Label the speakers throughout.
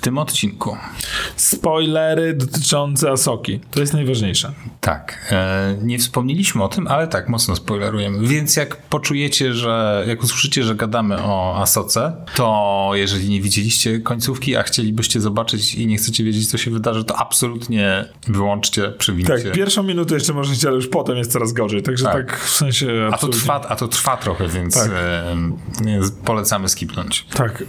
Speaker 1: tym odcinku.
Speaker 2: Spoilery dotyczące Asoki. To jest najważniejsze.
Speaker 1: Tak. E, nie wspomnieliśmy o tym, ale tak, mocno spoilerujemy. Więc jak poczujecie, że jak usłyszycie, że gadamy o Asoce, to jeżeli nie widzieliście końcówki, a chcielibyście zobaczyć i nie chcecie wiedzieć, co się wydarzy, to absolutnie wyłączcie, przywincie.
Speaker 2: Tak, pierwszą minutę jeszcze możecie, ale już potem jest coraz gorzej. Także tak,
Speaker 1: Tak.
Speaker 2: w sensie.
Speaker 1: a, to
Speaker 2: absolutnie.
Speaker 1: trwa, a to trwa trochę, więc
Speaker 2: Tak.
Speaker 1: e, nie, polecamy skipnąć.
Speaker 2: Tak, y,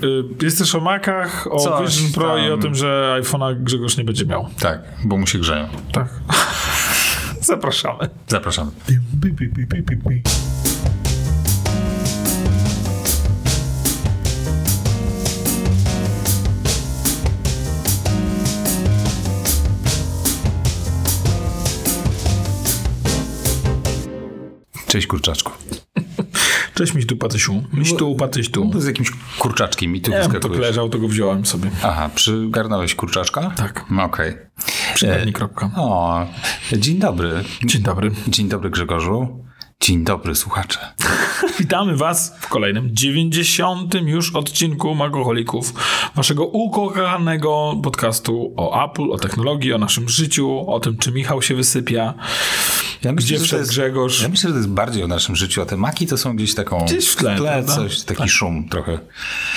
Speaker 2: jest też o Macach, o
Speaker 1: Coś
Speaker 2: Vision Pro i o
Speaker 1: tam.
Speaker 2: tym, że iPhone'a Grzegorz nie będzie miał.
Speaker 1: Tak, bo mu się grzeją.
Speaker 2: Tak. Zapraszamy.
Speaker 1: Zapraszamy. Cześć kurczaczku.
Speaker 2: Cześć miś tu, patysiu. Miś tu, patyś tu.
Speaker 1: Z jakimś kurczaczkiem i ty
Speaker 2: Nie wiem, to
Speaker 1: wyskakujesz.
Speaker 2: leżał, to go wziąłem sobie.
Speaker 1: Aha, przygarnąłeś kurczaczka?
Speaker 2: Tak.
Speaker 1: No, Okej.
Speaker 2: Przynajmniej kropka.
Speaker 1: O, dzień dobry.
Speaker 2: Dzień dobry.
Speaker 1: Dzień dobry Grzegorzu. Dzień dobry słuchacze.
Speaker 2: Witamy Was w kolejnym 90. już odcinku Magoholików, waszego ukochanego podcastu o Apple, o technologii, o naszym życiu, o tym, czy Michał się wysypia,
Speaker 1: Ja myślę,
Speaker 2: gdzie
Speaker 1: że to
Speaker 2: wszedł
Speaker 1: jest-
Speaker 2: Grzegorz.
Speaker 1: Ja myślę, że to jest bardziej o naszym życiu, a te maki to są gdzieś taką...
Speaker 2: Gdzieś w tle, prawda?
Speaker 1: coś, taki szum trochę.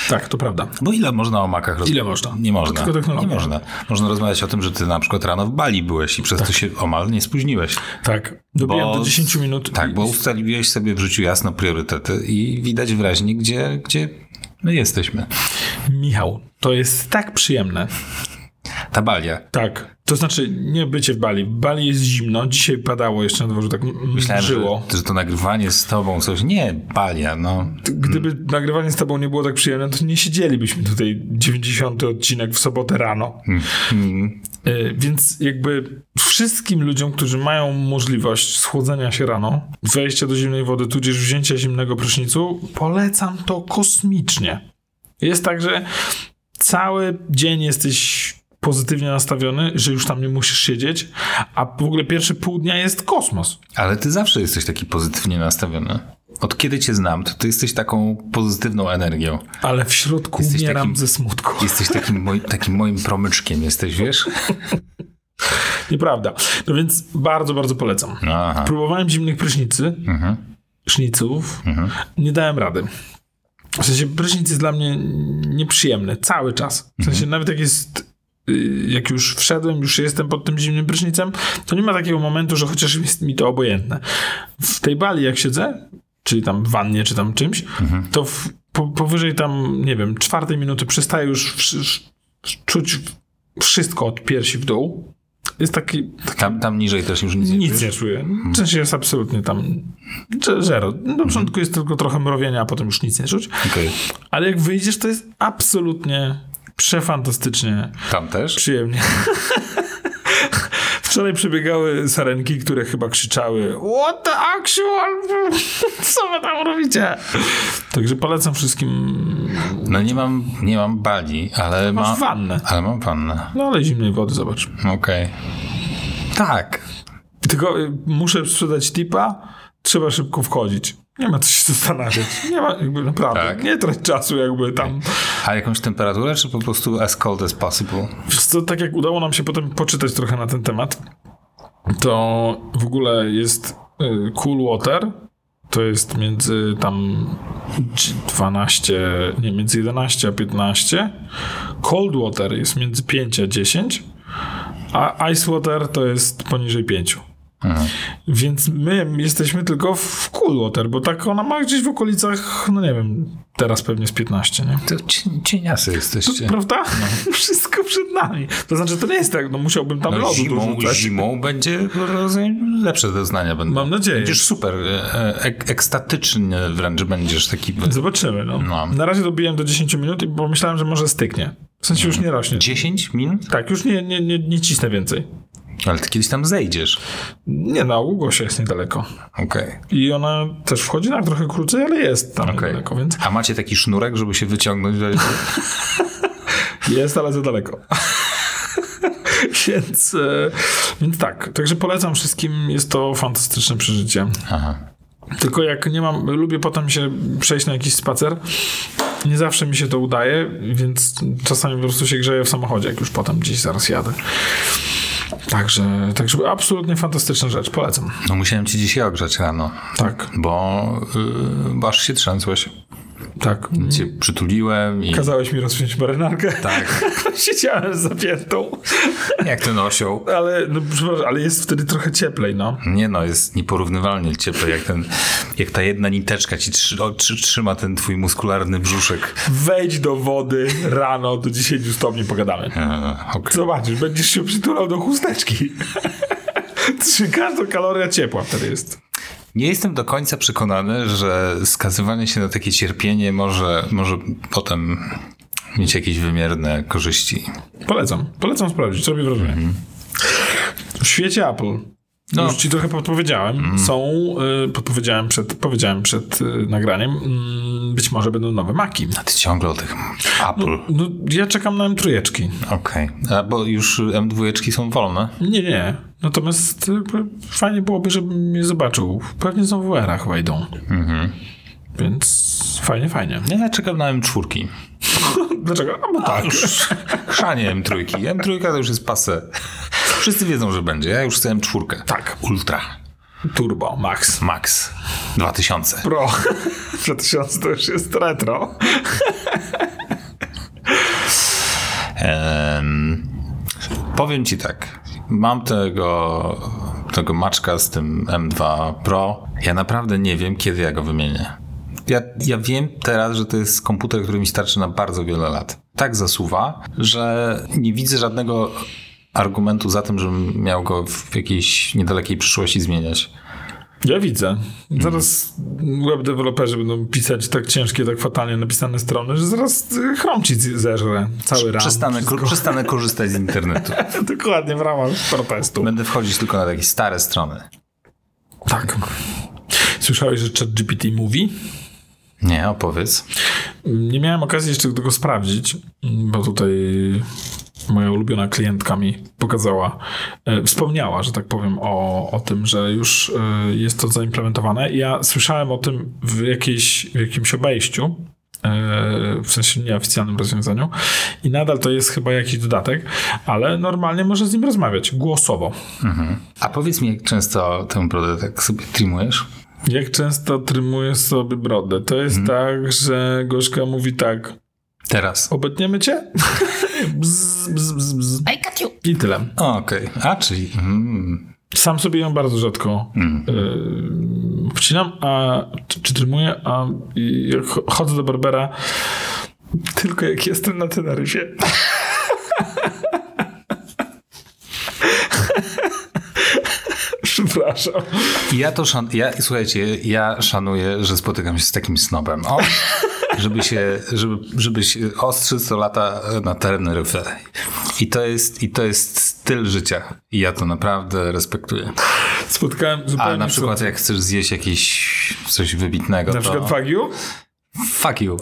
Speaker 2: Tak, to prawda.
Speaker 1: Bo ile można o makach rozmawiać?
Speaker 2: Ile można?
Speaker 1: Nie
Speaker 2: To
Speaker 1: można.
Speaker 2: tylko technologia.
Speaker 1: Nie można. Można rozmawiać o tym, że ty na przykład rano w Bali byłeś i przez to się omal nie spóźniłeś.
Speaker 2: Tak, dobiłem
Speaker 1: Bo-
Speaker 2: Tak. do 10 minut.
Speaker 1: Tak,
Speaker 2: i-
Speaker 1: bo ustaliłeś sobie w życiu jasno priorytety i widać wyraźnie, gdzie, gdzie my jesteśmy.
Speaker 2: Michał, to jest tak przyjemne.
Speaker 1: Ta Balia.
Speaker 2: Tak, to znaczy nie bycie w Bali. W Bali jest zimno, dzisiaj padało jeszcze na dworzu, tak m-
Speaker 1: Myślałem,
Speaker 2: żyło.
Speaker 1: Że, że to nagrywanie z tobą coś. Nie, Balia, no.
Speaker 2: Gdyby nagrywanie z tobą nie było tak przyjemne, to nie siedzielibyśmy tutaj 90 odcinek w sobotę rano.
Speaker 1: Mm.
Speaker 2: Y, Więc jakby wszystkim ludziom, którzy mają możliwość schłodzenia się rano, wejścia do zimnej wody, tudzież wzięcia zimnego prysznicu, polecam to kosmicznie. Jest tak, że cały dzień jesteś pozytywnie nastawiony, że już tam nie musisz siedzieć, a w ogóle pierwsze pół dnia jest kosmos.
Speaker 1: Ale ty zawsze jesteś taki pozytywnie nastawiony. Od kiedy cię znam, to ty jesteś taką pozytywną energią.
Speaker 2: Ale w środku
Speaker 1: Jesteś
Speaker 2: umieram
Speaker 1: takim-
Speaker 2: ze smutku.
Speaker 1: Jesteś takim, moj, takim moim promyczkiem, jesteś, wiesz?
Speaker 2: Nieprawda. No więc bardzo, bardzo polecam.
Speaker 1: No, Aha.
Speaker 2: Próbowałem zimnych prysznicy,
Speaker 1: Mhm.
Speaker 2: szniców, nie dałem rady. W sensie prysznic jest dla mnie nieprzyjemny cały czas. W
Speaker 1: Mhm.
Speaker 2: sensie nawet jak jest, y, jak już wszedłem, już jestem pod tym zimnym prysznicem, to nie ma takiego momentu, że chociaż jest mi to obojętne. W tej bali jak siedzę, czyli tam w wannie, czy tam czymś,
Speaker 1: Mhm.
Speaker 2: to w, po, powyżej tam, nie wiem, czwartej minuty przestaję już wsz- wsz- czuć wszystko od piersi w dół. Jest taki,
Speaker 1: Tam, tam niżej też już nic,
Speaker 2: nic
Speaker 1: nie
Speaker 2: nie czuję. W sensie jest absolutnie tam ze- zero. Na początku jest tylko trochę mrowienia, a potem już nic nie czuć.
Speaker 1: Okej.
Speaker 2: Ale jak wyjdziesz, to jest absolutnie przefantastycznie
Speaker 1: Tam też?
Speaker 2: przyjemnie. Wczoraj przebiegały sarenki, które chyba krzyczały What the actual? Co wy tam robicie? Także polecam wszystkim.
Speaker 1: No nie mam, nie mam bali, ale
Speaker 2: Masz
Speaker 1: mam...
Speaker 2: wannę.
Speaker 1: Ale mam pannę.
Speaker 2: No ale zimnej wody, zobacz.
Speaker 1: Okej. Tak.
Speaker 2: Tylko y, muszę sprzedać tipa, trzeba szybko wchodzić. Nie ma co się zastanawiać. Nie ma, jakby naprawdę.
Speaker 1: Tak.
Speaker 2: Nie trać czasu jakby tam.
Speaker 1: A jakąś temperaturę, czy po prostu as cold as possible?
Speaker 2: Wiesz co, tak jak udało nam się potem poczytać trochę na ten temat, to w ogóle jest y, cool water, to jest między tam 12, nie, między 11 a 15. Cold water jest między 5 a 10, a ice water to jest poniżej 5.
Speaker 1: Mhm.
Speaker 2: Więc my jesteśmy tylko w cool water, bo tak ona ma gdzieś w okolicach, no nie wiem, teraz pewnie z 15, nie?
Speaker 1: To ci- cieniasy jesteście.
Speaker 2: Prawda? Wszystko przed nami. To znaczy, to nie jest tak, no musiałbym tam
Speaker 1: No,
Speaker 2: lodu
Speaker 1: zimą,
Speaker 2: dorzucać.
Speaker 1: zimą będzie rozumiem, lepsze doznania będą.
Speaker 2: Mam nadzieję.
Speaker 1: Będziesz super, e, e, ek, ekstatyczny wręcz będziesz taki.
Speaker 2: Zobaczymy, no.
Speaker 1: No.
Speaker 2: Na razie dobiłem do 10 minut i pomyślałem, że może styknie. W sensie już nie rośnie.
Speaker 1: 10 minut?
Speaker 2: Tak, już nie, nie, nie, nie cisnę więcej.
Speaker 1: Ale ty kiedyś tam zejdziesz.
Speaker 2: Nie, na Ługosie jest niedaleko.
Speaker 1: Okej.
Speaker 2: I ona też wchodzi tak trochę krócej, ale jest tam
Speaker 1: okej.
Speaker 2: niedaleko, więc
Speaker 1: A macie taki sznurek, żeby się wyciągnąć?
Speaker 2: jest, ale za daleko. więc, e, więc tak, także polecam wszystkim, jest to fantastyczne przeżycie.
Speaker 1: Aha.
Speaker 2: Tylko jak nie mam, lubię potem się przejść na jakiś spacer Nie zawsze mi się to udaje, więc czasami po prostu się grzeję w samochodzie, jak już potem gdzieś zaraz jadę. Także, także absolutnie fantastyczna rzecz, polecam.
Speaker 1: No musiałem ci dzisiaj ogrzać rano,
Speaker 2: Tak,
Speaker 1: bo yy, aż się trzęsłeś.
Speaker 2: tak.
Speaker 1: Cię przytuliłem i
Speaker 2: Kazałeś mi rozpiąć marynarkę.
Speaker 1: tak,
Speaker 2: Siedziałem z zapiętą.
Speaker 1: jak ten osioł.
Speaker 2: Ale, no, przepraszam, ale jest wtedy trochę cieplej, no.
Speaker 1: Nie no, jest nieporównywalnie cieplej, jak, ten, jak ta jedna niteczka ci trzy, o, trzy, trzyma ten twój muskularny brzuszek.
Speaker 2: Wejdź do wody rano do 10 stopni, pogadamy.
Speaker 1: E, okej.
Speaker 2: Zobaczysz, będziesz się przytulał do chusteczki. Trzy każda kaloria ciepła wtedy jest.
Speaker 1: Nie jestem do końca przekonany, że skazywanie się na takie cierpienie może, może potem mieć jakieś wymierne korzyści.
Speaker 2: Polecam. Polecam sprawdzić, robi wrażenie. W świecie Apple.
Speaker 1: No.
Speaker 2: Już ci trochę podpowiedziałem. Są, y, podpowiedziałem przed, powiedziałem przed y, nagraniem, mm, być może będą nowe Maki.
Speaker 1: A ty ciągle o tych Apple.
Speaker 2: No, ja czekam na M3.
Speaker 1: Okej, A bo już M2 są wolne.
Speaker 2: Nie, nie. Natomiast y, p- fajnie byłoby, żebym je zobaczył. Pewnie są w VR-ach wejdą. Mhm. Więc fajnie, fajnie.
Speaker 1: Ja czekam na M4.
Speaker 2: Dlaczego? A bo tak.
Speaker 1: Już chrzanie M3. M3 to już jest pase. Wszyscy wiedzą, że będzie. Ja już chcę M4.
Speaker 2: Tak.
Speaker 1: Ultra.
Speaker 2: Turbo Max.
Speaker 1: Max. 2000.
Speaker 2: Pro. 2000 to już jest retro.
Speaker 1: Em, powiem ci tak. Mam tego, tego maczka z tym M2 Pro. Ja naprawdę nie wiem, kiedy ja go wymienię. Ja, ja wiem teraz, że to jest komputer, który mi starczy na bardzo wiele lat. Tak zasuwa, że nie widzę żadnego argumentu za tym, żebym miał go w jakiejś niedalekiej przyszłości zmieniać.
Speaker 2: Ja widzę. Zaraz web deweloperzy będą pisać tak ciężkie, tak fatalnie napisane strony, że zaraz y, chrom ci z- zeżre cały ram.
Speaker 1: Przestanę, ko- przestanę korzystać z internetu.
Speaker 2: Dokładnie w ramach protestu.
Speaker 1: Będę wchodzić tylko na takie stare strony.
Speaker 2: Tak. Słyszałeś, że ChatGPT mówi?
Speaker 1: Nie, opowiedz.
Speaker 2: Nie miałem okazji jeszcze tego sprawdzić, bo tutaj moja ulubiona klientka mi pokazała, e, wspomniała, że tak powiem, o, o tym, że już e, jest to zaimplementowane. Ja słyszałem o tym w, jakiejś, w jakimś obejściu, e, w sensie nieoficjalnym rozwiązaniu i nadal to jest chyba jakiś dodatek, ale normalnie można z nim rozmawiać głosowo.
Speaker 1: A powiedz mi, jak często tę brodę tak sobie trimujesz?
Speaker 2: Jak często trymuję sobie brodę? To jest tak, że Gorzka mówi tak,
Speaker 1: Teraz.
Speaker 2: obetniemy cię? bzz, bzz, bzz, bzz.
Speaker 3: I got you.
Speaker 2: I tyle.
Speaker 1: Okej, a czyli... Mm,
Speaker 2: Sam sobie ją bardzo rzadko
Speaker 1: mm.
Speaker 2: yy, wcinam, a czy, czy trymuję, a i jak chodzę do Barbera tylko jak jestem na Teneryfie. Przepraszam.
Speaker 1: Ja to szan... ja, słuchajcie, ja szanuję, że spotykam się z takim snobem. O, żeby się, żeby, żeby się ostrzyc to lata na Teneryfę. I to jest, i to jest styl życia. I ja to naprawdę respektuję.
Speaker 2: Spotkałem zupełnie...
Speaker 1: A na
Speaker 2: co-
Speaker 1: przykład jak chcesz zjeść jakieś coś wybitnego,
Speaker 2: Na
Speaker 1: to...
Speaker 2: przykład Wagyu?
Speaker 1: Fuck you.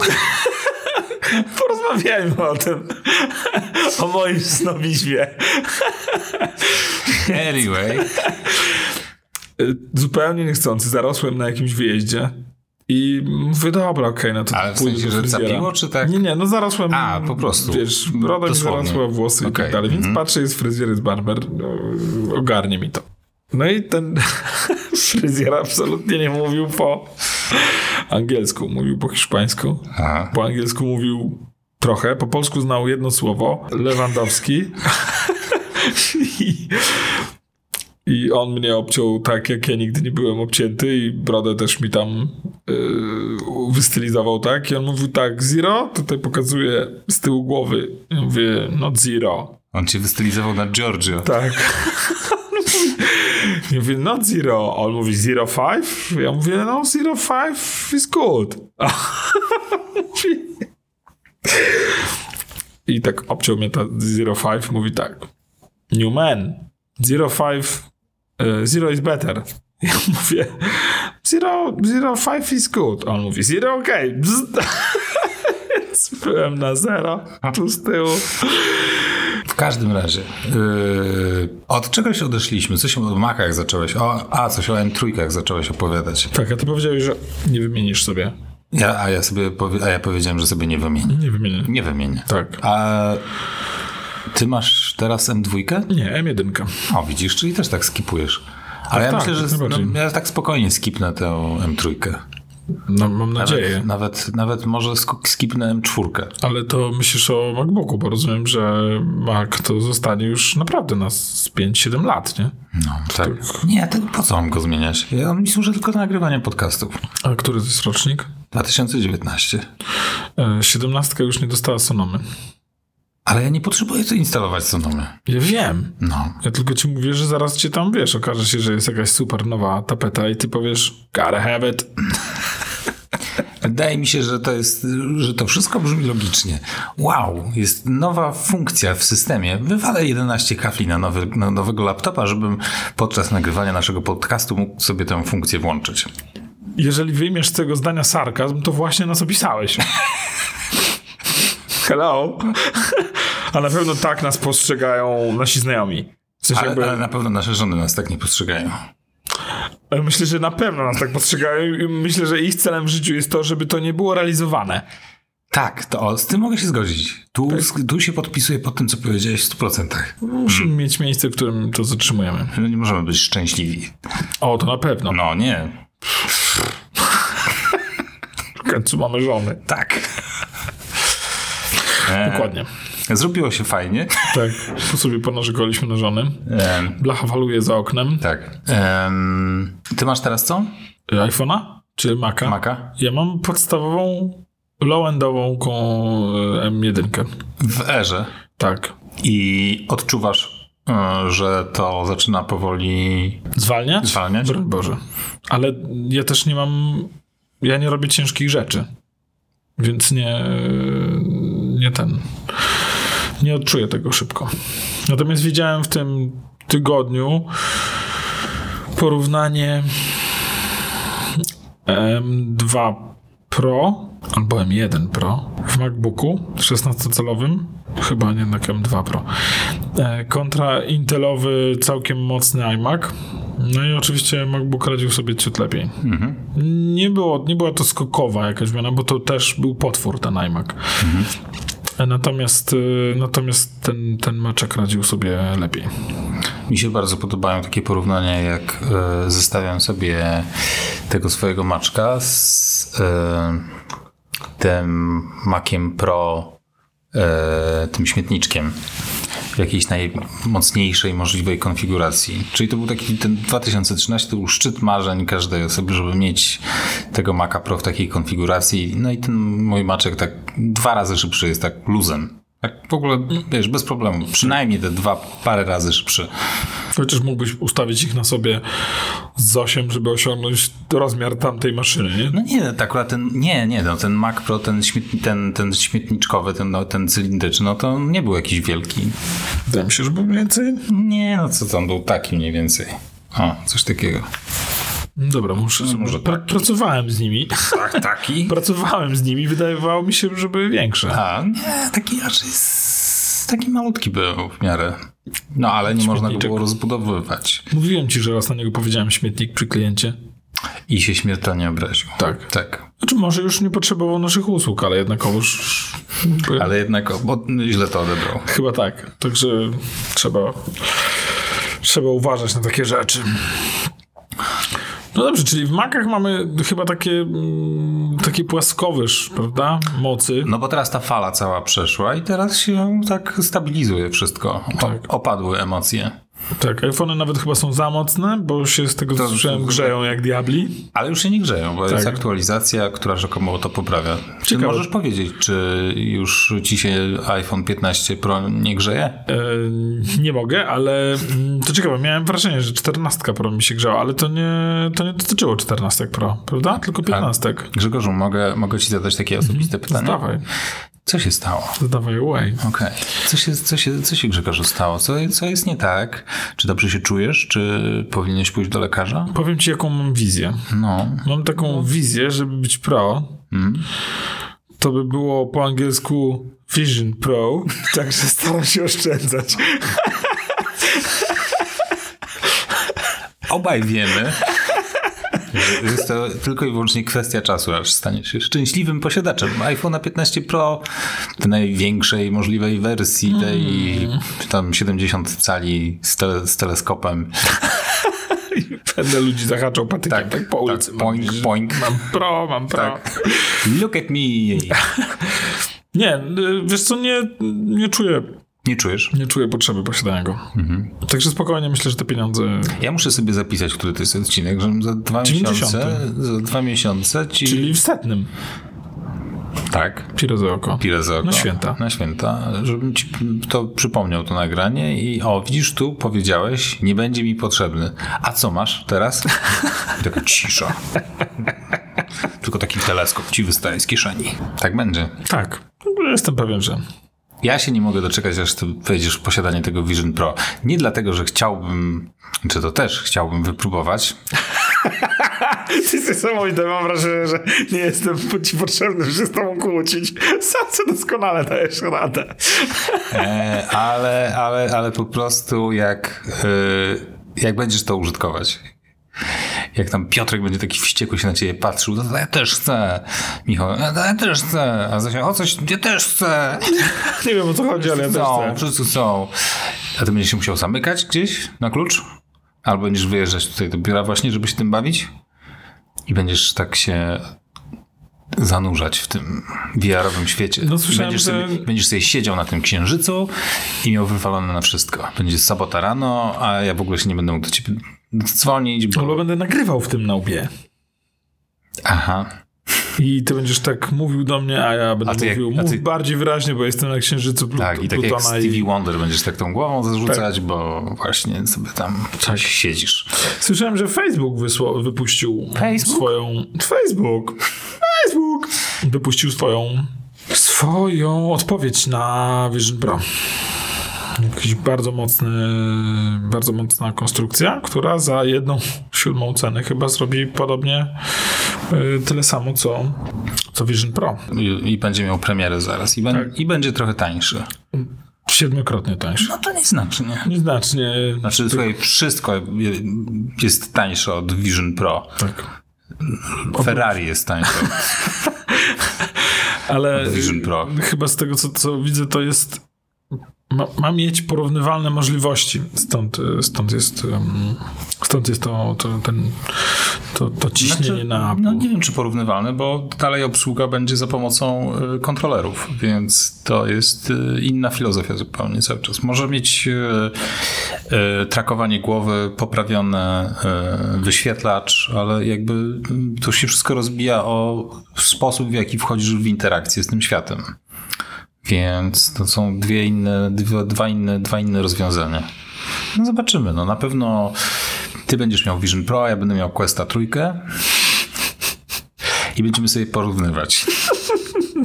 Speaker 2: Porozmawiajmy o tym. O moim snobizmie.
Speaker 1: Anyway.
Speaker 2: Y, zupełnie niechcący zarosłem na jakimś wyjeździe i mówię, dobra, okej, no to
Speaker 1: Ale w
Speaker 2: pójdę
Speaker 1: sensie,
Speaker 2: do
Speaker 1: że
Speaker 2: fryzjera.
Speaker 1: zapiło, czy tak?
Speaker 2: Nie, nie, no zarosłem.
Speaker 1: A, po prostu. Mm,
Speaker 2: Wiesz, broda mi
Speaker 1: Dosłownie.
Speaker 2: zarosła, włosy i
Speaker 1: Okej,
Speaker 2: tak dalej, więc
Speaker 1: mhm.
Speaker 2: patrzę, jest fryzjer, jest barber, no, ogarnie mi to. No i ten fryzjer absolutnie nie mówił po angielsku, mówił po hiszpańsku.
Speaker 1: Aha.
Speaker 2: Po angielsku mówił trochę, po polsku znał jedno słowo, Lewandowski. I, I on mnie obciął tak, jak ja nigdy nie byłem obcięty i brodę też mi tam yy, wystylizował tak. I on mówił tak, zero, tutaj pokazuje z tyłu głowy. Ja mówię, no zero.
Speaker 1: On cię wystylizował na Giorgio.
Speaker 2: Tak. Ja mówię, no zero. On mówi zero five. Ja mówię, no zero five is good. A mówi- I tak obciął mnie ta zero five. Mówi tak. New man. Zero five. e, Zero is better. Ja mówię, zero, zero five is good. On mówi, zero okej. Okay. Byłem na zero, tu z tyłu.
Speaker 1: W każdym razie, yy, od czegoś odeszliśmy? Coś o makach zacząłeś, o, a coś o M3 zacząłeś opowiadać.
Speaker 2: Tak, a ty powiedziałeś, że nie wymienisz sobie
Speaker 1: Ja, a, ja sobie powie, a ja powiedziałem, że sobie nie wymienię.
Speaker 2: Nie wymienię.
Speaker 1: Nie wymienię.
Speaker 2: Tak.
Speaker 1: A ty masz teraz M2?
Speaker 2: Nie, M1.
Speaker 1: O, widzisz, czyli też tak skipujesz. Ale ja
Speaker 2: tak,
Speaker 1: myślę, że
Speaker 2: jak najbardziej.
Speaker 1: no, ja tak spokojnie skipnę tę M3.
Speaker 2: No, mam nadzieję.
Speaker 1: Nawet, nawet, nawet może sk- skipnę M4.
Speaker 2: Ale to myślisz o MacBooku, bo rozumiem, że Mac to zostanie już naprawdę na z 5-7 lat, nie?
Speaker 1: No, tak. Nie, to po co mam go zmieniać? Ja, on mi służy tylko do nagrywania podcastów.
Speaker 2: A który to jest rocznik?
Speaker 1: 2019.
Speaker 2: E, 17 już nie dostała Sonomy.
Speaker 1: Ale ja nie potrzebuję tu instalować Sonomy.
Speaker 2: Ja wiem.
Speaker 1: No.
Speaker 2: Ja tylko ci mówię, że zaraz cię tam, wiesz, okaże się, że jest jakaś super nowa tapeta i ty powiesz, gotta have it.
Speaker 1: Wydaje mi się, że to jest, że to wszystko brzmi logicznie. Wow, jest nowa funkcja w systemie. Wywalę 11 kafli na, nowy, na nowego laptopa, żebym podczas nagrywania naszego podcastu mógł sobie tę funkcję włączyć.
Speaker 2: Jeżeli wyjmiesz z tego zdania sarkazm, to właśnie nas opisałeś. Hello. A na pewno tak nas postrzegają nasi znajomi. W sensie jakby...
Speaker 1: Ale, ale na pewno nasze żony nas tak nie postrzegają.
Speaker 2: Ale Myślę, że na pewno nas tak postrzegają i myślę, że ich celem w życiu jest to, żeby to nie było realizowane.
Speaker 1: Tak, to o, z tym mogę się zgodzić. Tu, tu się podpisuję pod tym, co powiedziałeś w 100%.
Speaker 2: Musimy
Speaker 1: Hmm.
Speaker 2: mieć miejsce, w którym to zatrzymujemy.
Speaker 1: No nie możemy być szczęśliwi.
Speaker 2: O, to na pewno.
Speaker 1: No nie.
Speaker 2: W końcu mamy żony.
Speaker 1: Tak. E,
Speaker 2: Dokładnie.
Speaker 1: Zrobiło się fajnie.
Speaker 2: Tak. Po sobie ponarzekaliśmy na żony.
Speaker 1: E,
Speaker 2: Blacha waluje za oknem. Y,
Speaker 1: tak. Em, ty masz teraz co?
Speaker 2: iPhone'a czy Maca?
Speaker 1: Maka?
Speaker 2: Ja mam podstawową low-endową ko- M1.
Speaker 1: w erze
Speaker 2: Tak.
Speaker 1: i odczuwasz, y, że to zaczyna powoli
Speaker 2: Zwalniać?
Speaker 1: zwalniać?
Speaker 2: Broń Boże. Ale ja też nie mam. Ja nie robię ciężkich rzeczy. Więc nie. Nie ten. Nie odczuję tego szybko. Natomiast widziałem w tym tygodniu porównanie M2 Pro albo M1 Pro w MacBooku 16-calowym, chyba nie jednak M2 Pro, e, kontra Intelowy całkiem mocny iMac. No i oczywiście MacBook radził sobie ciut lepiej.
Speaker 1: Mhm.
Speaker 2: Nie, było, nie była to skokowa jakaś zmiana, bo to też był potwór ten iMac. E, Natomiast, e, natomiast ten, ten maczek radził sobie lepiej.
Speaker 1: Mi się bardzo podobają takie porównania, jak y, zestawiam sobie tego swojego maczka z y, tym Maciem Pro, y, tym śmietniczkiem w jakiejś najmocniejszej możliwej konfiguracji. Czyli to był taki ten 2013, to był szczyt marzeń każdej osoby, żeby mieć tego Maca Pro w takiej konfiguracji. No i ten mój maczek tak dwa razy szybszy jest tak luzem. Tak w ogóle, wiesz, bez problemu. Przynajmniej te dwa, parę razy szybszy.
Speaker 2: Chociaż mógłbyś ustawić ich na sobie z 8, żeby osiągnąć rozmiar tamtej maszyny, nie?
Speaker 1: No nie, tak akurat ten, nie, nie, no ten Mac Pro, ten, śmietni, ten, ten śmietniczkowy, ten, no, ten cylindryczny, no to on nie był jakiś wielki.
Speaker 2: Wydaje mi się, że był mniej więcej.
Speaker 1: Nie, no co tam był taki mniej więcej. O, coś takiego.
Speaker 2: Dobra, muszę.
Speaker 1: może
Speaker 2: pra-
Speaker 1: taki.
Speaker 2: Pracowałem z nimi.
Speaker 1: Tak, taki?
Speaker 2: Pracowałem z nimi, wydawało mi się, że były większe.
Speaker 1: A, nie, taki raczej s- taki malutki był w miarę. No, ale nie można go
Speaker 2: Śmietniczek.
Speaker 1: było rozbudowywać.
Speaker 2: Mówiłem ci, że raz na niego powiedziałem śmietnik przy kliencie.
Speaker 1: I się śmiertelnie obraził.
Speaker 2: Tak.
Speaker 1: Tak.
Speaker 2: Znaczy, może już nie potrzebował naszych usług, ale jednakowoż.
Speaker 1: Ale jednak, o, bo źle to odebrał.
Speaker 2: Chyba tak. Także trzeba. Trzeba uważać na takie rzeczy. No dobrze, czyli w makach mamy chyba takie, mm, taki płaskowyż, prawda? Mocy.
Speaker 1: No bo teraz ta fala cała przeszła i teraz się tak stabilizuje wszystko. O,
Speaker 2: Tak.
Speaker 1: Opadły emocje.
Speaker 2: Tak, iPhone nawet chyba są za mocne, bo się z tego co
Speaker 1: To-
Speaker 2: słyszałem grzeją jak diabli.
Speaker 1: Ale już się nie grzeją, bo jest
Speaker 2: Tak.
Speaker 1: aktualizacja, która rzekomo to poprawia. Czy
Speaker 2: Ciekawe.
Speaker 1: możesz powiedzieć, czy już ci się iPhone 15 Pro nie grzeje?
Speaker 2: E, nie mogę, ale mm, to ciekawe, miałem wrażenie, że 14 Pro mi się grzała, ale to nie, to nie dotyczyło 14 Pro, prawda? Tylko 15.
Speaker 1: Grzegorzu, mogę, mogę ci zadać takie
Speaker 2: Mhm.
Speaker 1: osobiste pytanie?
Speaker 2: Zdawaj,
Speaker 1: Co się stało?
Speaker 2: zdawaj away.
Speaker 1: Okej. Co, się, co, się, co się Grzegorzu stało? Co, co jest nie tak? Czy dobrze się czujesz? Czy powinieneś pójść do lekarza?
Speaker 2: Powiem ci, jaką mam wizję.
Speaker 1: No.
Speaker 2: Mam taką wizję, żeby być pro, to by było po angielsku Vision Pro, także staram się oszczędzać.
Speaker 1: Obaj wiemy, Jest to tylko i wyłącznie kwestia czasu, aż staniesz się szczęśliwym posiadaczem iPhone'a 15 Pro w największej możliwej wersji, tej tam 70 cali z, tele, z teleskopem.
Speaker 2: Będę ludzi zahaczał patykiem tak, po ulicy.
Speaker 1: tak, poink,
Speaker 2: Mam-
Speaker 1: poink.
Speaker 2: Mam pro, mam pro.
Speaker 1: Tak. Look at me!
Speaker 2: Nie, y, wiesz co, nie, nie czuję
Speaker 1: Nie czujesz?
Speaker 2: nie czuję potrzeby posiadania go.
Speaker 1: Mhm.
Speaker 2: Także spokojnie myślę, że te pieniądze.
Speaker 1: Ja muszę sobie zapisać, który to jest odcinek, żebym za dwa
Speaker 2: 90.
Speaker 1: miesiące, za dwa miesiące ci...
Speaker 2: Czyli w setnym.
Speaker 1: Tak.
Speaker 2: Piro za oko.
Speaker 1: Pile za oko.
Speaker 2: Na święta.
Speaker 1: Na święta, żebym ci to przypomniał, to nagranie i o, widzisz, tu powiedziałeś, nie będzie mi potrzebny. A co masz teraz? I Taka cisza. Tylko taki teleskop ci wystaje z kieszeni. Tak będzie.
Speaker 2: Tak. Jestem pewien, że.
Speaker 1: Ja się nie mogę doczekać, aż ty wejdziesz w posiadanie tego Vision Pro. Nie dlatego, że chciałbym, czy to też chciałbym wypróbować,
Speaker 2: Ty niesamowite, mam wrażenie, że nie jestem ci potrzebny, że się z tobą kłócić. Sam co doskonale dajesz radę.
Speaker 1: E, ale, ale, ale po prostu jak, y, jak będziesz to użytkować. Jak tam Piotrek będzie taki wściekły się na ciebie patrzył, to ja też chcę. Michał, "A to ja też chcę. A Zosia, o coś, ja też chcę.
Speaker 2: Nie wiem o co chodzi, ale ja też
Speaker 1: Są,
Speaker 2: chcę.
Speaker 1: wszyscy są. A ty będziesz się musiał zamykać gdzieś na klucz? Albo będziesz wyjeżdżać tutaj do biura właśnie, żeby się tym bawić? I będziesz tak się zanurzać w tym VR-owym świecie.
Speaker 2: No, słyszałem,
Speaker 1: będziesz,
Speaker 2: że-
Speaker 1: sobie, będziesz sobie siedział na tym księżycu i miał wywalone na wszystko. Będzie sobota rano, a ja w ogóle się nie będę mógł do ciebie dzwonić, bo...
Speaker 2: Albo No będę nagrywał w tym na łbie.
Speaker 1: Aha.
Speaker 2: I ty będziesz tak mówił do mnie, a ja będę
Speaker 1: A ty jak-
Speaker 2: mówił
Speaker 1: a
Speaker 2: mów
Speaker 1: ty-
Speaker 2: bardziej wyraźnie, bo jestem na księżycu Plut-
Speaker 1: Tak, i tak jak
Speaker 2: Plutona Tak.
Speaker 1: Stevie Wonder będziesz tak tą głową zarzucać, bo właśnie sobie tam coś siedzisz.
Speaker 2: Słyszałem, że Facebook wysła- wypuścił
Speaker 1: Facebook?
Speaker 2: swoją. Facebook! Facebook! Wypuścił swoją. Swoją odpowiedź na Vision Pro. Jakiś bardzo mocny, bardzo mocna konstrukcja, która za jedną siódmą cenę chyba zrobi podobnie y, tyle samo, co, co Vision Pro.
Speaker 1: I, i będzie miał premierę zaraz. I, ben, I będzie trochę tańszy.
Speaker 2: Siedmiokrotnie tańszy.
Speaker 1: No to nie znaczy, nie?
Speaker 2: Nieznacznie.
Speaker 1: Znaczy, słuchaj, wszystko je- jest tańsze od Vision Pro.
Speaker 2: Tak.
Speaker 1: Ferrari jest tańsze. od-
Speaker 2: Ale
Speaker 1: Vision Pro.
Speaker 2: chyba z tego, co, co widzę, to jest. Ma, ma mieć porównywalne możliwości. Stąd, y, stąd jest. ym, Stąd jest to, to, ten, to, to ciśnienie
Speaker 1: Znaczy,
Speaker 2: na Apple.
Speaker 1: no nie wiem, czy porównywalne, bo dalej obsługa będzie za pomocą y, kontrolerów, więc to jest y, inna filozofia zupełnie cały czas. Może mieć y, y, trakowanie głowy, poprawiony y, wyświetlacz, ale jakby y, to się wszystko rozbija o sposób, w jaki wchodzisz w interakcję z tym światem. Więc to są dwie inne, dwa, dwa inne, dwa inne rozwiązania. No zobaczymy. No na pewno ty będziesz miał Vision Pro, ja będę miał Questa trójkę. I będziemy sobie porównywać.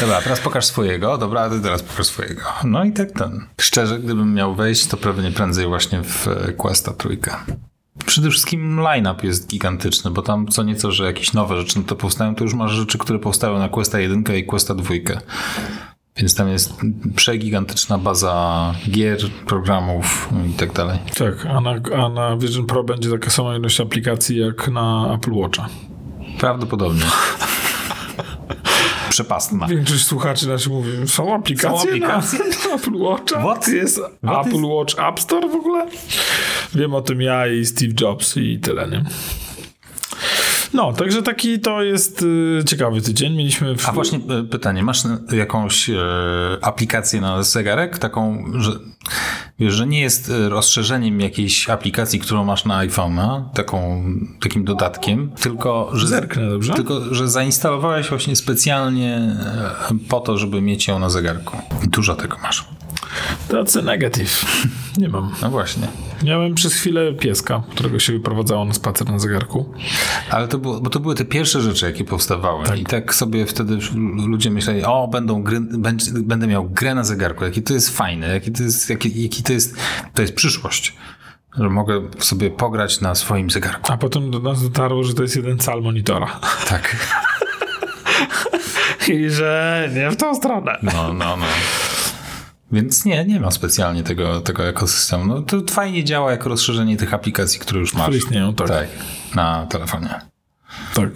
Speaker 1: Dobra, teraz pokaż swojego. Dobra, a ty teraz pokaż swojego. No i tak ten. Szczerze, gdybym miał wejść, to pewnie prędzej właśnie w e, Questa trójkę. Przede wszystkim line-up jest gigantyczny, bo tam co nieco, że jakieś nowe rzeczy no to powstają, to już masz rzeczy, które powstały na Questa 1 i Questa 2. Więc tam jest przegigantyczna baza gier, programów i tak dalej.
Speaker 2: Tak, a na, a na Vision Pro będzie taka sama ilość aplikacji jak na Apple Watcha.
Speaker 1: Prawdopodobnie. Przepastna.
Speaker 2: Większość słuchaczy naszych mówi, są aplikacje,
Speaker 1: Są aplikacje?
Speaker 2: Na, na Apple Watcha?
Speaker 1: What?
Speaker 2: Jest
Speaker 1: What
Speaker 2: Apple Watch App Store w ogóle? Wiem o tym ja i Steve Jobs i tyle, nie? No, także taki to jest y, ciekawy tydzień. Mieliśmy w...
Speaker 1: A właśnie e, pytanie, masz na- jakąś e, aplikację na zegarek? Taką, że, wiesz, że nie jest e, rozszerzeniem jakiejś aplikacji, którą masz na iPhone'a, taką, takim dodatkiem, tylko że,
Speaker 2: Zerknę, dobrze?
Speaker 1: tylko że zainstalowałeś właśnie specjalnie e, po to, żeby mieć ją na zegarku. I Dużo tego masz.
Speaker 2: Tacy negatyw. Nie mam.
Speaker 1: No właśnie.
Speaker 2: Miałem przez chwilę pieska, którego się wyprowadzało na spacer na zegarku.
Speaker 1: Ale to, było, bo to były te pierwsze rzeczy, jakie powstawały. I tak sobie wtedy już ludzie myśleli, o, będą gry, będę, będę miał grę na zegarku, jaki to jest fajne, jaki to jest, jaki, jaki to jest, to jest przyszłość. Że mogę sobie pograć na swoim zegarku.
Speaker 2: A potem do nas dotarło, że to jest jeden cal monitora.
Speaker 1: Tak.
Speaker 2: I że nie w tą stronę.
Speaker 1: No, no, no. Więc nie, nie ma specjalnie tego, tego ekosystemu. No, to fajnie działa jako rozszerzenie tych aplikacji, które już masz.
Speaker 2: Które istnieją, tak.
Speaker 1: tak. na telefonie.
Speaker 2: Tak.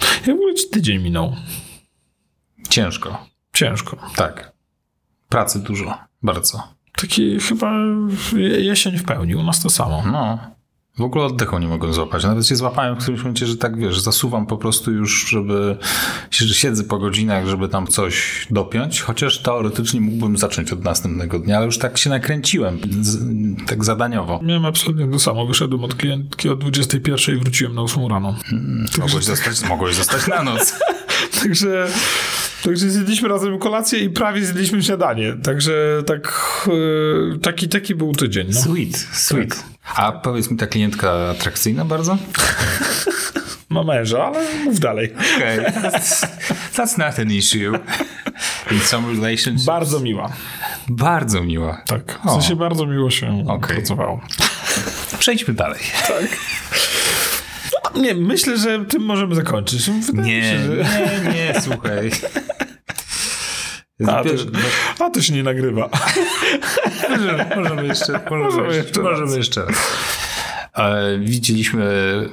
Speaker 2: Jak w ogóle ci tydzień minął?
Speaker 1: Ciężko.
Speaker 2: Ciężko.
Speaker 1: Tak. Pracy dużo. Bardzo.
Speaker 2: Taki chyba jesień w pełni, u nas to samo.
Speaker 1: No. W ogóle oddechu nie mogłem złapać. Nawet się złapałem w którymś momencie, że tak wiesz, zasuwam po prostu już, żeby że siedzę po godzinach, żeby tam coś dopiąć. Chociaż teoretycznie mógłbym zacząć od następnego dnia, ale już tak się nakręciłem, z, tak zadaniowo.
Speaker 2: Miałem absolutnie to samo. Wyszedłem od klientki o 21 i wróciłem na 8 rano.
Speaker 1: Mogłeś zostać, mogłeś zostać na noc.
Speaker 2: Także, także zjedliśmy razem kolację i prawie zjedliśmy śniadanie. Także tak, e, taki, taki był tydzień. No.
Speaker 1: Sweet, sweet. A powiedz mi, ta klientka atrakcyjna bardzo?
Speaker 2: Ma męża, ale mów dalej.
Speaker 1: Okay. That's, that's not an issue. In some relationships.
Speaker 2: Bardzo miła.
Speaker 1: bardzo miła.
Speaker 2: Tak. W sensie bardzo miło się
Speaker 1: Okej.
Speaker 2: pracowało.
Speaker 1: Przejdźmy dalej.
Speaker 2: No, Nie, myślę, że tym możemy zakończyć. Wydaje mi
Speaker 1: Nie,
Speaker 2: się, że...
Speaker 1: nie, nie, słuchaj.
Speaker 2: A to,
Speaker 1: Dopiero-
Speaker 2: a to się nie nagrywa.
Speaker 1: Możemy, możemy jeszcze. Możemy,
Speaker 2: Możemy jeszcze
Speaker 1: jeszcze. Możemy jeszcze. E, Widzieliśmy,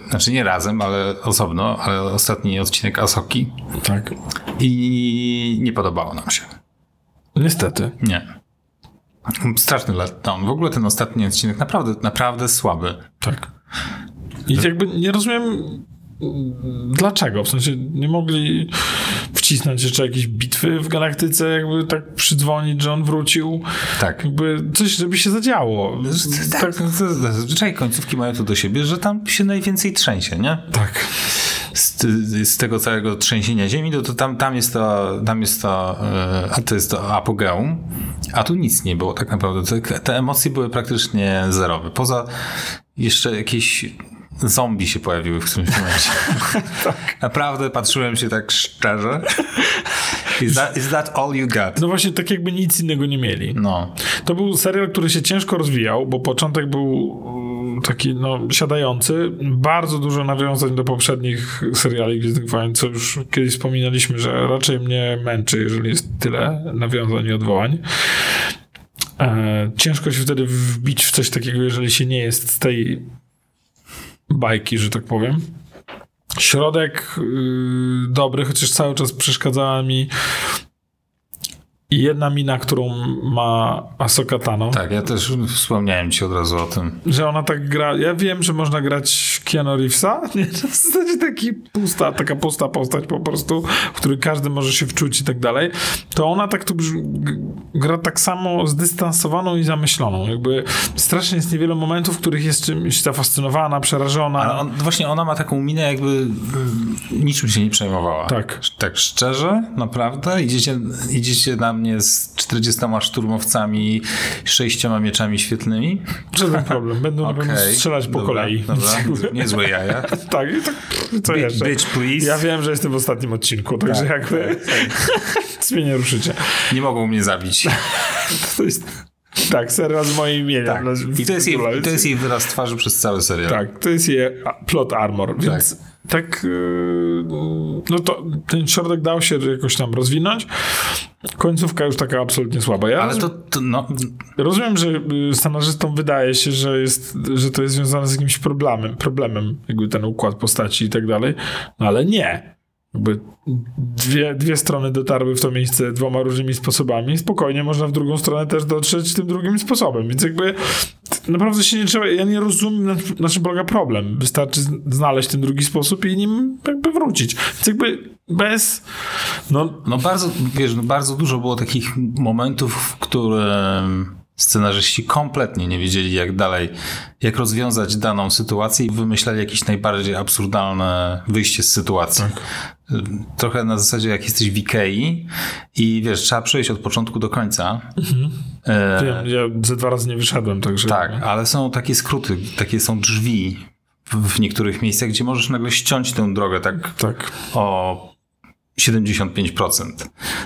Speaker 1: znaczy nie razem, ale osobno, ale ostatni odcinek Asoki
Speaker 2: Tak.
Speaker 1: i nie podobało nam się.
Speaker 2: Niestety.
Speaker 1: Nie. Straszny letdown. W ogóle ten ostatni odcinek naprawdę, naprawdę słaby.
Speaker 2: Tak. I jakby nie rozumiem mm, dlaczego. W sensie nie mogli wcisnąć jeszcze jakiejś bitwy w galaktyce, jakby tak przydzwonić, że on wrócił.
Speaker 1: Tak.
Speaker 2: Jakby coś, żeby się zadziało.
Speaker 1: Tak, tak. Zazwyczaj końcówki mają to do siebie, że tam się najwięcej trzęsie, nie?
Speaker 2: Tak.
Speaker 1: z, z tego całego trzęsienia ziemi, to, to tam, tam jest to, tam jest to, e, a to jest to apogeum, a tu nic nie było tak naprawdę. Te, te emocje były praktycznie zerowe. Poza jeszcze jakieś zombie się pojawiły w którymś momencie. Naprawdę patrzyłem się tak szczerze. Is that, is that all you got?
Speaker 2: No właśnie tak jakby nic innego nie mieli.
Speaker 1: No.
Speaker 2: To był serial, który się ciężko rozwijał, bo początek był mm, taki, no, siadający. Bardzo dużo nawiązań do poprzednich seriali Gwiezdnych Wojen, co już kiedyś wspominaliśmy, że raczej mnie męczy, jeżeli jest tyle nawiązań i odwołań. E, ciężko się wtedy wbić w coś takiego, jeżeli się nie jest z tej bajki, że tak powiem. Środek y, dobry, chociaż cały czas przeszkadzała mi jedna mina, którą ma Ahsoka Tano.
Speaker 1: Tak, ja też wspomniałem ci od razu o tym.
Speaker 2: Że ona tak gra. Ja wiem, że można grać Keanu Reevesa. Nie, to jest taki- taki pusta, taka pusta postać po prostu, w której każdy może się wczuć i tak dalej. To ona tak tu brz- g- gra tak samo zdystansowaną i zamyśloną. Jakby strasznie jest niewiele momentów, w których jest czymś zafascynowana, przerażona.
Speaker 1: Ale on, właśnie ona ma taką minę, jakby mm, niczym się nie przejmowała.
Speaker 2: Tak.
Speaker 1: Tak szczerze, naprawdę? Idziecie, idziecie na mnie z 40 szturmowcami, sześcioma mieczami świetlnymi?
Speaker 2: Żaden problem. Będą na pewno
Speaker 1: Okej.
Speaker 2: strzelać po
Speaker 1: Dobra,
Speaker 2: kolei.
Speaker 1: Dobra,
Speaker 2: Więc jakby-
Speaker 1: niezłe jaja.
Speaker 2: tak, i tak. pff, Co
Speaker 1: Bitch,
Speaker 2: jeszcze?
Speaker 1: bitch, please.
Speaker 2: Ja wiem, że jestem w ostatnim odcinku, także
Speaker 1: Tak,
Speaker 2: jakby nic mnie nie ruszycie.
Speaker 1: Nie mogą mnie zabić.
Speaker 2: To jest, tak, serial z moim imieniem.
Speaker 1: Tak.
Speaker 2: Tak. No,
Speaker 1: I to jest, jej,
Speaker 2: w-
Speaker 1: to jest jej wyraz twarzy przez cały serial.
Speaker 2: Tak, to jest jej a- plot armor, więc tak, yy, no to ten środek dał się jakoś tam rozwinąć. Końcówka już taka absolutnie słaba. Ja
Speaker 1: Ale to, to no,
Speaker 2: rozumiem, że y, scenarzystom wydaje się, że, jest, że to jest związane z jakimś problemem, problemem jakby ten układ postaci i tak dalej, no ale nie. Jakby dwie, dwie strony dotarły w to miejsce dwoma różnymi sposobami. Spokojnie można w drugą stronę też dotrzeć tym drugim sposobem, więc jakby naprawdę się nie trzeba, ja nie rozumiem na, na czym polega problem. Wystarczy z- znaleźć ten drugi sposób i nim jakby wrócić. Więc jakby bez no
Speaker 1: No bardzo, wiesz, no bardzo dużo było takich momentów, w którym scenarzyści kompletnie nie wiedzieli jak dalej, jak rozwiązać daną sytuację i wymyślali jakieś najbardziej absurdalne wyjście z sytuacji. Trochę na zasadzie jak jesteś w Ikei i wiesz, trzeba przejść od początku do końca. E,
Speaker 2: wiem, ja ze dwa razy nie wyszedłem, także
Speaker 1: tak, ale są takie skróty, takie są drzwi w w niektórych miejscach, gdzie możesz nagle ściąć tę drogę tak
Speaker 2: tak.
Speaker 1: o 75%.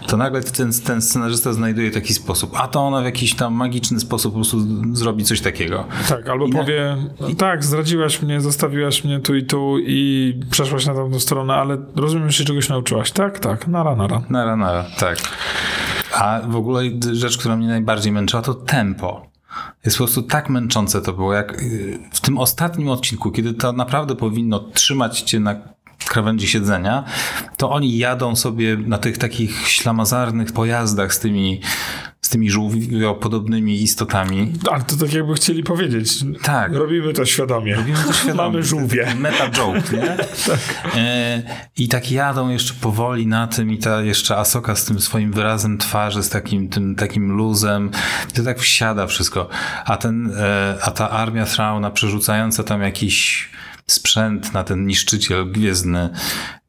Speaker 1: To nagle ten, ten scenarzysta znajduje taki sposób, a to ona w jakiś tam magiczny sposób po prostu z- zrobi coś takiego.
Speaker 2: Tak, albo
Speaker 1: na-
Speaker 2: powie, tak, zdradziłaś mnie, zostawiłaś mnie tu i tu i przeszłaś na tamtą stronę, ale rozumiem, że się czegoś nauczyłaś. Tak, tak, nara, nara.
Speaker 1: Nara, nara, tak. A w ogóle rzecz, która mnie najbardziej męczyła, to tempo. Jest po prostu tak męczące to było, jak yy, w tym ostatnim odcinku, kiedy to naprawdę powinno trzymać cię na krawędzi siedzenia, to oni jadą sobie na tych takich ślamazarnych pojazdach z tymi, z tymi żółwiopodobnymi istotami.
Speaker 2: Ale to tak jakby chcieli powiedzieć.
Speaker 1: Tak.
Speaker 2: Robimy to świadomie.
Speaker 1: Robimy to świadomie.
Speaker 2: Mamy żółwie. Tak.
Speaker 1: Meta joke, nie? E, I tak jadą jeszcze powoli na tym i ta jeszcze Asoka z tym swoim wyrazem twarzy, z takim, tym, takim luzem. I to tak wsiada wszystko. A ten, e, a ta armia Trauna przerzucająca tam jakiś sprzęt na ten niszczyciel gwiezdny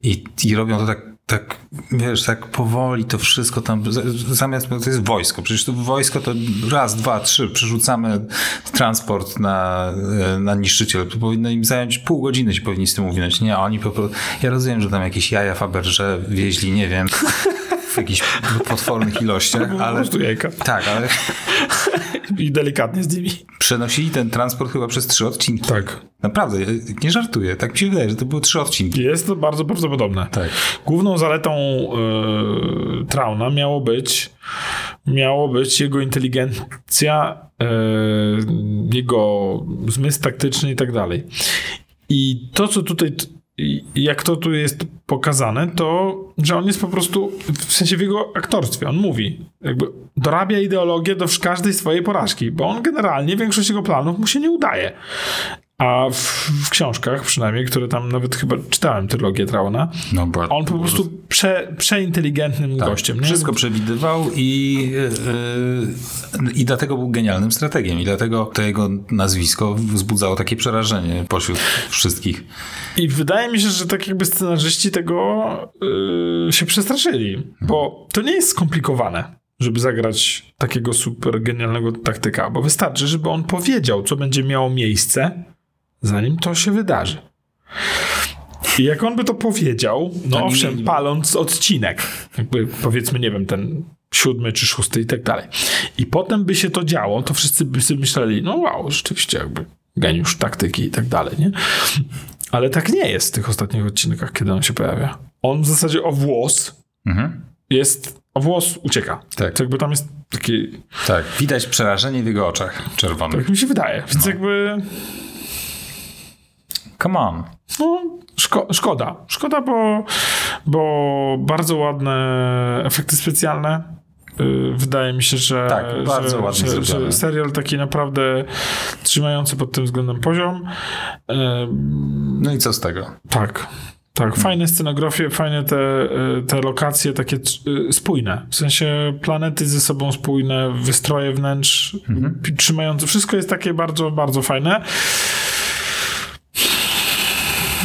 Speaker 1: i, i robią to tak tak, wiesz, tak powoli to wszystko tam, z- z- zamiast, bo to jest wojsko, przecież to wojsko to raz, dwa, trzy, przerzucamy transport na, e, na niszczyciel, to powinno im zająć pół godziny się powinni z tym uwinąć, nie, oni po prostu, ja rozumiem, że tam jakieś jaja Faberże wieźli, nie wiem, w jakichś potwornych ilościach,
Speaker 2: Po
Speaker 1: ale...
Speaker 2: prostu jajka.
Speaker 1: Tak, ale
Speaker 2: I delikatnie z nimi.
Speaker 1: przenosili ten transport chyba przez trzy odcinki.
Speaker 2: Tak.
Speaker 1: Naprawdę, ja nie żartuję. Tak mi się wydaje, że to były trzy odcinki.
Speaker 2: Jest to bardzo prawdopodobne.
Speaker 1: Tak.
Speaker 2: Główną zaletą e, Trauna miało być, miało być jego inteligencja, e, jego zmysł taktyczny i tak dalej. I to, co tutaj, t- i- jak to tu jest pokazane, to, że on jest po prostu, w sensie w jego aktorstwie, on mówi, jakby dorabia ideologię do wsz- każdej swojej porażki, bo on generalnie większość jego planów mu się nie udaje. A w, w książkach przynajmniej, które tam nawet chyba czytałem, trylogię Trauna,
Speaker 1: No, bo
Speaker 2: on po prostu prze, przeinteligentnym gościem. Nie?
Speaker 1: Tak. Wszystko przewidywał i, yy, i dlatego był genialnym strategiem. I dlatego to jego nazwisko wzbudzało takie przerażenie pośród wszystkich.
Speaker 2: I wydaje mi się, że tak jakby scenarzyści tego yy, się przestraszyli, bo to nie jest skomplikowane, żeby zagrać takiego super genialnego taktyka, bo wystarczy, żeby on powiedział, co będzie miało miejsce, zanim to się wydarzy. I jak on by to powiedział, no
Speaker 1: To nie-
Speaker 2: owszem, paląc odcinek, jakby powiedzmy, nie wiem, ten siódmy czy szósty i tak dalej. I potem by się to działo, to wszyscy by sobie myśleli, no wow, rzeczywiście jakby geniusz taktyki i tak dalej, nie? Ale tak nie jest w tych ostatnich odcinkach, kiedy on się pojawia. On w zasadzie o włos
Speaker 1: Mhm.
Speaker 2: jest, o włos ucieka.
Speaker 1: Tak.
Speaker 2: To jakby tam jest taki,
Speaker 1: Tak, widać przerażenie w jego oczach czerwonych.
Speaker 2: tak mi się wydaje. Więc
Speaker 1: No.
Speaker 2: jakby,
Speaker 1: Come on.
Speaker 2: no, szko- szkoda. Szkoda, bo, bo bardzo ładne efekty specjalne. Yy, Wydaje mi się, że,
Speaker 1: Tak, bardzo
Speaker 2: że,
Speaker 1: ładnie
Speaker 2: że,
Speaker 1: zrobione.
Speaker 2: że serial taki naprawdę trzymający pod tym względem poziom. Yy,
Speaker 1: No i co z tego?
Speaker 2: Tak. Tak,
Speaker 1: Hmm.
Speaker 2: fajne scenografie, fajne te, y, te lokacje takie y, spójne. W sensie planety ze sobą spójne, wystroje wnętrz
Speaker 1: Mhm.
Speaker 2: p- trzymające. Wszystko jest takie bardzo, bardzo fajne.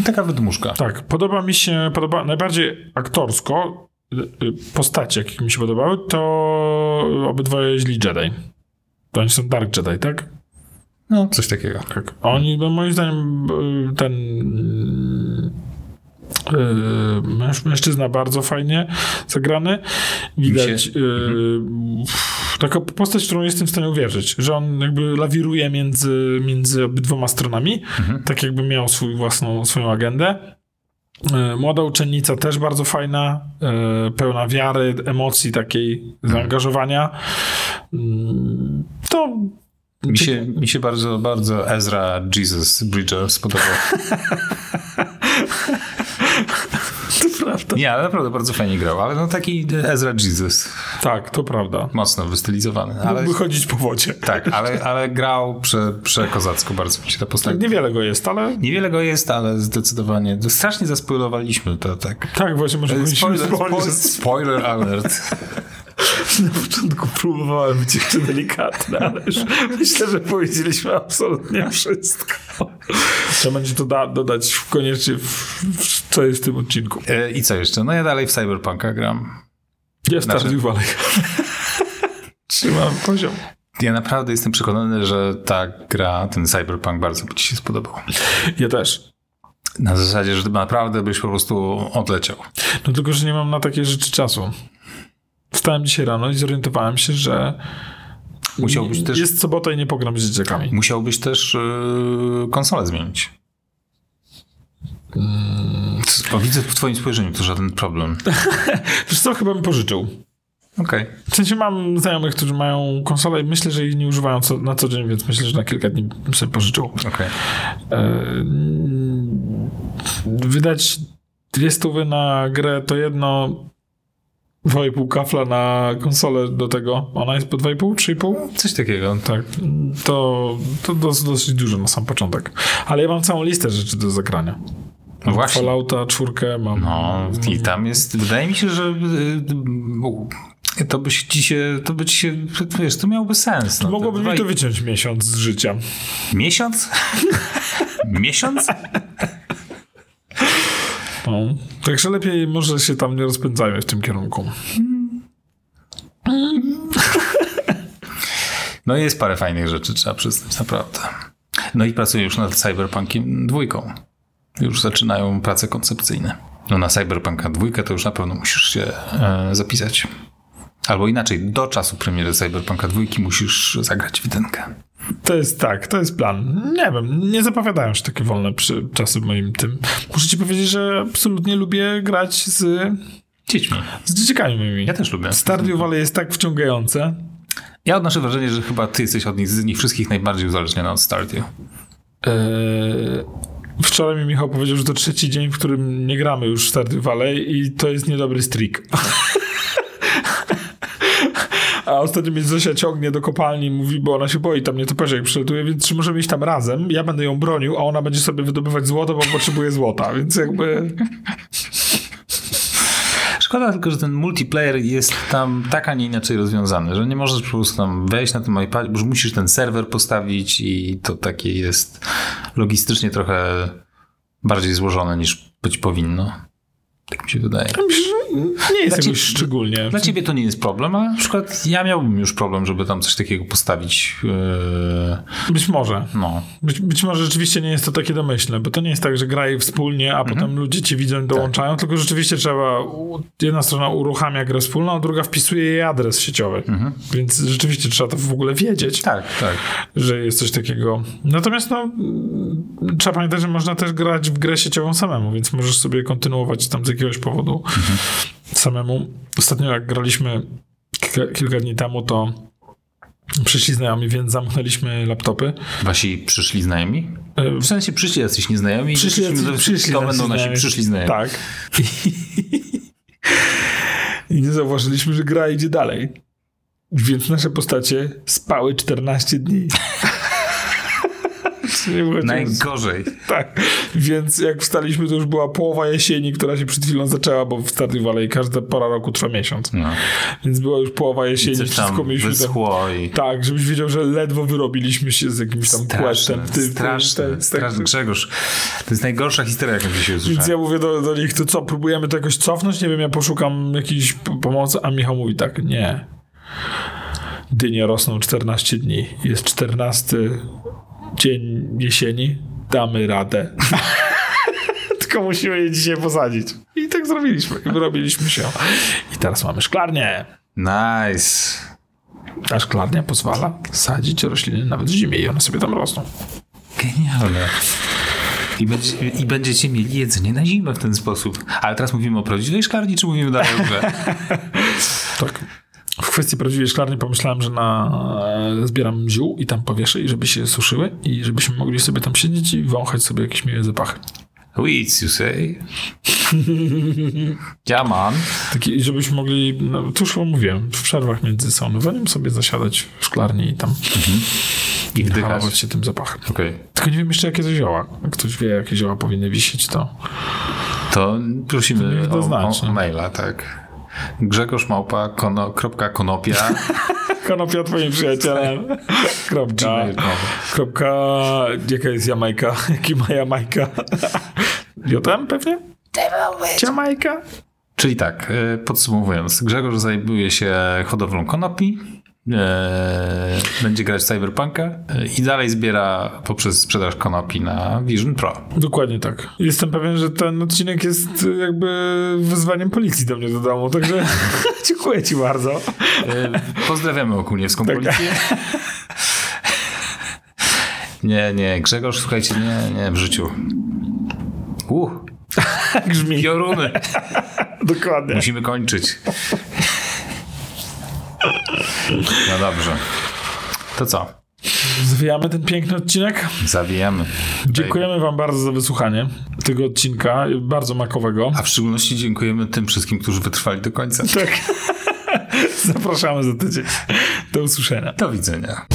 Speaker 1: Taka wydmuszka.
Speaker 2: Tak, podoba mi się, podoba, najbardziej aktorsko y, y, postacie, jakie mi się podobały, to obydwoje źli Jedi. To oni są Dark Jedi, tak?
Speaker 1: No, coś takiego.
Speaker 2: Tak. A Oni, no moim zdaniem, y, ten y, męż, mężczyzna bardzo fajnie zagrany. Widać
Speaker 1: Mi
Speaker 2: y, f- taka postać, w którą jestem w stanie uwierzyć, że on jakby lawiruje między, między obydwoma stronami, tak jakby miał swój własną, swoją agendę. Y, Młoda uczennica też bardzo fajna, y, pełna wiary, emocji takiej, zaangażowania. Y, To
Speaker 1: Mi się, mi się bardzo, bardzo Ezra Jesus Bridger spodobał.
Speaker 2: to prawda.
Speaker 1: Nie, ale naprawdę bardzo fajnie grał. Ale no taki Ezra Jesus.
Speaker 2: Tak, to prawda.
Speaker 1: Mocno wystylizowany. Ale,
Speaker 2: Mógłby chodzić po wodzie.
Speaker 1: tak, ale, ale grał prze, przekozacko. Bardzo mi się ta postać
Speaker 2: Tak, niewiele go jest, ale...
Speaker 1: Niewiele go jest, ale zdecydowanie. To strasznie zaspoilowaliśmy to, tak.
Speaker 2: Tak, właśnie może powinniśmy
Speaker 1: Spoiler,
Speaker 2: wspomnieć,
Speaker 1: spoiler,
Speaker 2: że
Speaker 1: spoiler alert.
Speaker 2: na początku próbowałem być jeszcze delikatny, ale już myślę, że powiedzieliśmy absolutnie wszystko. Trzeba będzie to da- dodać w- koniecznie, w, w, co jest w tym odcinku.
Speaker 1: E, I co jeszcze? No ja dalej w Cyberpunka gram.
Speaker 2: Jest
Speaker 1: Znaczy-
Speaker 2: Stardew Valley. Trzymam poziom.
Speaker 1: Ja naprawdę jestem przekonany, że ta gra, ten Cyberpunk bardzo by ci się spodobał.
Speaker 2: Ja też.
Speaker 1: Na zasadzie, że naprawdę byś po prostu odleciał.
Speaker 2: No tylko, że nie mam na takie rzeczy czasu. Wstałem dzisiaj rano i zorientowałem się, że
Speaker 1: Musiałbyś
Speaker 2: nie-
Speaker 1: też,
Speaker 2: jest sobota i nie pogram z dzieciakami.
Speaker 1: musiałbyś też yy, konsolę zmienić.
Speaker 2: Mm.
Speaker 1: Bo widzę w twoim spojrzeniu to żaden problem.
Speaker 2: Wiesz co, chyba bym pożyczył.
Speaker 1: Okej.
Speaker 2: W sensie mam znajomych, którzy mają konsolę i myślę, że jej nie używają co, na co dzień, więc myślę, że na kilka dni bym sobie pożyczył.
Speaker 1: okej.
Speaker 2: E, wydać dwie stówy na grę to jedno, dwa i pół kafla na konsolę do tego. Ona jest po 2,5, 3,5?
Speaker 1: Coś takiego.
Speaker 2: Tak, to, to dos, dosyć dużo na sam początek. Ale ja mam całą listę rzeczy do zagrania.
Speaker 1: No właśnie.
Speaker 2: Fallouta, czwórkę mam.
Speaker 1: No i tam jest, wydaje mi się, że y, y, to by ci się, to by ci się, wiesz, to miałoby sens. No,
Speaker 2: Mogłoby
Speaker 1: dwa
Speaker 2: mi to
Speaker 1: i-
Speaker 2: wyciąć miesiąc z życia.
Speaker 1: Miesiąc? Miesiąc?
Speaker 2: No. Także lepiej może się tam nie rozpędzajmy w tym kierunku.
Speaker 1: No jest parę fajnych rzeczy, trzeba przyznać, naprawdę. No i pracuję już nad Cyberpunkiem dwójką. Już zaczynają prace koncepcyjne. No na Cyberpunka dwójkę to już na pewno musisz się e, zapisać. Albo inaczej, do czasu premiery Cyberpunka dwójki musisz zagrać w jedynkę.
Speaker 2: To jest tak, to jest plan. Nie wiem, nie zapowiadają się takie wolne przy, czasy w moim tym. Muszę ci powiedzieć, że absolutnie lubię grać z,
Speaker 1: Dziećmi.
Speaker 2: z dzieciakami moimi.
Speaker 1: Ja też lubię.
Speaker 2: Stardew Valley jest tak wciągające.
Speaker 1: Ja odnoszę wrażenie, że chyba ty jesteś od nich, z nich wszystkich najbardziej uzależniony od Stardew.
Speaker 2: Eee, wczoraj mi Michał powiedział, że to trzeci dzień, w którym nie gramy już w Stardew Valley i to jest niedobry streak. A ostatnio mnie Zosia ciągnie do kopalni mówi, bo ona się boi tam nietoperzy jak przylatuje, więc czy możemy iść tam razem? Ja będę ją bronił, a ona będzie sobie wydobywać złoto, bo potrzebuje złota, więc jakby...
Speaker 1: Szkoda tylko, że ten multiplayer jest tam tak, a nie inaczej rozwiązany, że nie możesz po prostu tam wejść na tym iPadzie, bo musisz ten serwer postawić i to takie jest logistycznie trochę bardziej złożone niż być powinno. Tak mi się wydaje.
Speaker 2: Nie jest
Speaker 1: Dla
Speaker 2: jakoś
Speaker 1: cie-
Speaker 2: szczególnie.
Speaker 1: Dla ciebie to nie jest problem, ale na przykład ja miałbym już problem, żeby tam coś takiego postawić. Yy,
Speaker 2: Być może.
Speaker 1: No,
Speaker 2: Być, być może rzeczywiście nie jest to takie domyślne, bo to nie jest tak, że grają wspólnie, a potem ludzie ci widzą i dołączają, tylko rzeczywiście trzeba, u- jedna strona uruchamia grę wspólną, a druga wpisuje jej adres sieciowy. Więc rzeczywiście trzeba to w ogóle wiedzieć,
Speaker 1: tak, tak.
Speaker 2: że jest coś takiego. Natomiast no, mm, trzeba pamiętać, że można też grać w grę sieciową samemu, więc możesz sobie kontynuować tam z jakiegoś powodu samemu. Ostatnio jak graliśmy kilka, kilka dni temu, to przyszli znajomi, więc zamknęliśmy laptopy.
Speaker 1: Wasi przyszli znajomi?
Speaker 2: E,
Speaker 1: W sensie przyszli jacyś nieznajomi. i
Speaker 2: Przyszli
Speaker 1: wróciliśmy
Speaker 2: jacyś-
Speaker 1: do-
Speaker 2: przyszli
Speaker 1: To
Speaker 2: jacyś
Speaker 1: będą nasi
Speaker 2: znajomi.
Speaker 1: przyszli znajomi.
Speaker 2: Tak. I nie zauważyliśmy, że gra idzie dalej. Więc nasze postacie spały 14 dni. Czy nie było cię-
Speaker 1: Najgorzej.
Speaker 2: tak. Więc jak wstaliśmy, to już była połowa jesieni, która się przed chwilą zaczęła, bo w Stardew Valley każda pora roku trwa miesiąc.
Speaker 1: No.
Speaker 2: Więc była już połowa jesieni,
Speaker 1: Coś
Speaker 2: wszystko
Speaker 1: tam
Speaker 2: mieliśmy tam
Speaker 1: wyschło i...
Speaker 2: tak, żebyś wiedział, że ledwo wyrobiliśmy się z jakimś tam questem.
Speaker 1: Straszne,
Speaker 2: typu,
Speaker 1: straszne,
Speaker 2: tak,
Speaker 1: straszne. Grzegorz, to jest najgorsza historia, jaką dzisiaj
Speaker 2: Więc
Speaker 1: usłyszałem.
Speaker 2: ja mówię do, do nich, to co, próbujemy to jakoś cofnąć? Nie wiem, ja poszukam jakiejś p- pomocy, a Michał mówi tak, nie. Dynie rosną 14 dni. Jest 14 dzień jesieni. Damy radę. Tylko musimy je dzisiaj posadzić. I tak zrobiliśmy. I wyrobiliśmy się. I teraz mamy szklarnię.
Speaker 1: Nice.
Speaker 2: Ta szklarnia pozwala sadzić rośliny nawet w zimie i one sobie tam rosną.
Speaker 1: Genialne. I, będzie, I będziecie mieli jedzenie na zimę w ten sposób. Ale teraz mówimy o prawdziwej szklarni, czy mówimy dalej o grze?
Speaker 2: Tak. W kwestii prawdziwej szklarni pomyślałem, że na, e, zbieram ziół i tam powieszę, i żeby się suszyły i żebyśmy mogli sobie tam siedzieć i wąchać sobie jakieś miłe zapachy.
Speaker 1: Weeds, you say? Yeah, man.
Speaker 2: Takie, I żebyśmy mogli, no, to już wam mówiłem, w przerwach między saunowaniem sobie zasiadać w szklarni i tam
Speaker 1: I wdychać.
Speaker 2: halować się tym zapachem.
Speaker 1: Okej.
Speaker 2: Tylko nie wiem jeszcze, jakie to zioła. Jak ktoś wie, jakie zioła powinny wisieć, to
Speaker 1: To prosimy
Speaker 2: niech
Speaker 1: o,
Speaker 2: doznaczy.
Speaker 1: o maila, tak. Grzegorz Małpa, kono, kropka konopia.
Speaker 2: konopia twoim przyjacielem. Kropka. Kropka, jaka jest Jamajka? Jaki ma Jamajka? Jotem pewnie? Jamajka?
Speaker 1: Czyli tak, e, podsumowując, Grzegorz zajmuje się hodowlą konopi, e, będzie grać w Cyberpunka e, i dalej zbiera poprzez sprzedaż konopi na Vision Pro.
Speaker 2: Dokładnie tak. Jestem pewien, że ten odcinek jest y, jakby wyzwaniem policji do mnie do domu, także dziękuję ci bardzo.
Speaker 1: E, Pozdrawiamy Okuniewską Policję. Nie, nie, Grzegorz, słuchajcie, nie, nie, w życiu. Uh,
Speaker 2: Grzmi.
Speaker 1: pioruny.
Speaker 2: Tak Dokładnie.
Speaker 1: Musimy kończyć. No dobrze. To co?
Speaker 2: Zwijamy ten piękny odcinek.
Speaker 1: Zawijamy.
Speaker 2: Dziękujemy Wam bardzo za wysłuchanie tego odcinka, bardzo makowego.
Speaker 1: A w szczególności dziękujemy tym wszystkim, którzy wytrwali do końca.
Speaker 2: Tak. Zapraszamy za tydzień. Do usłyszenia.
Speaker 1: Do widzenia.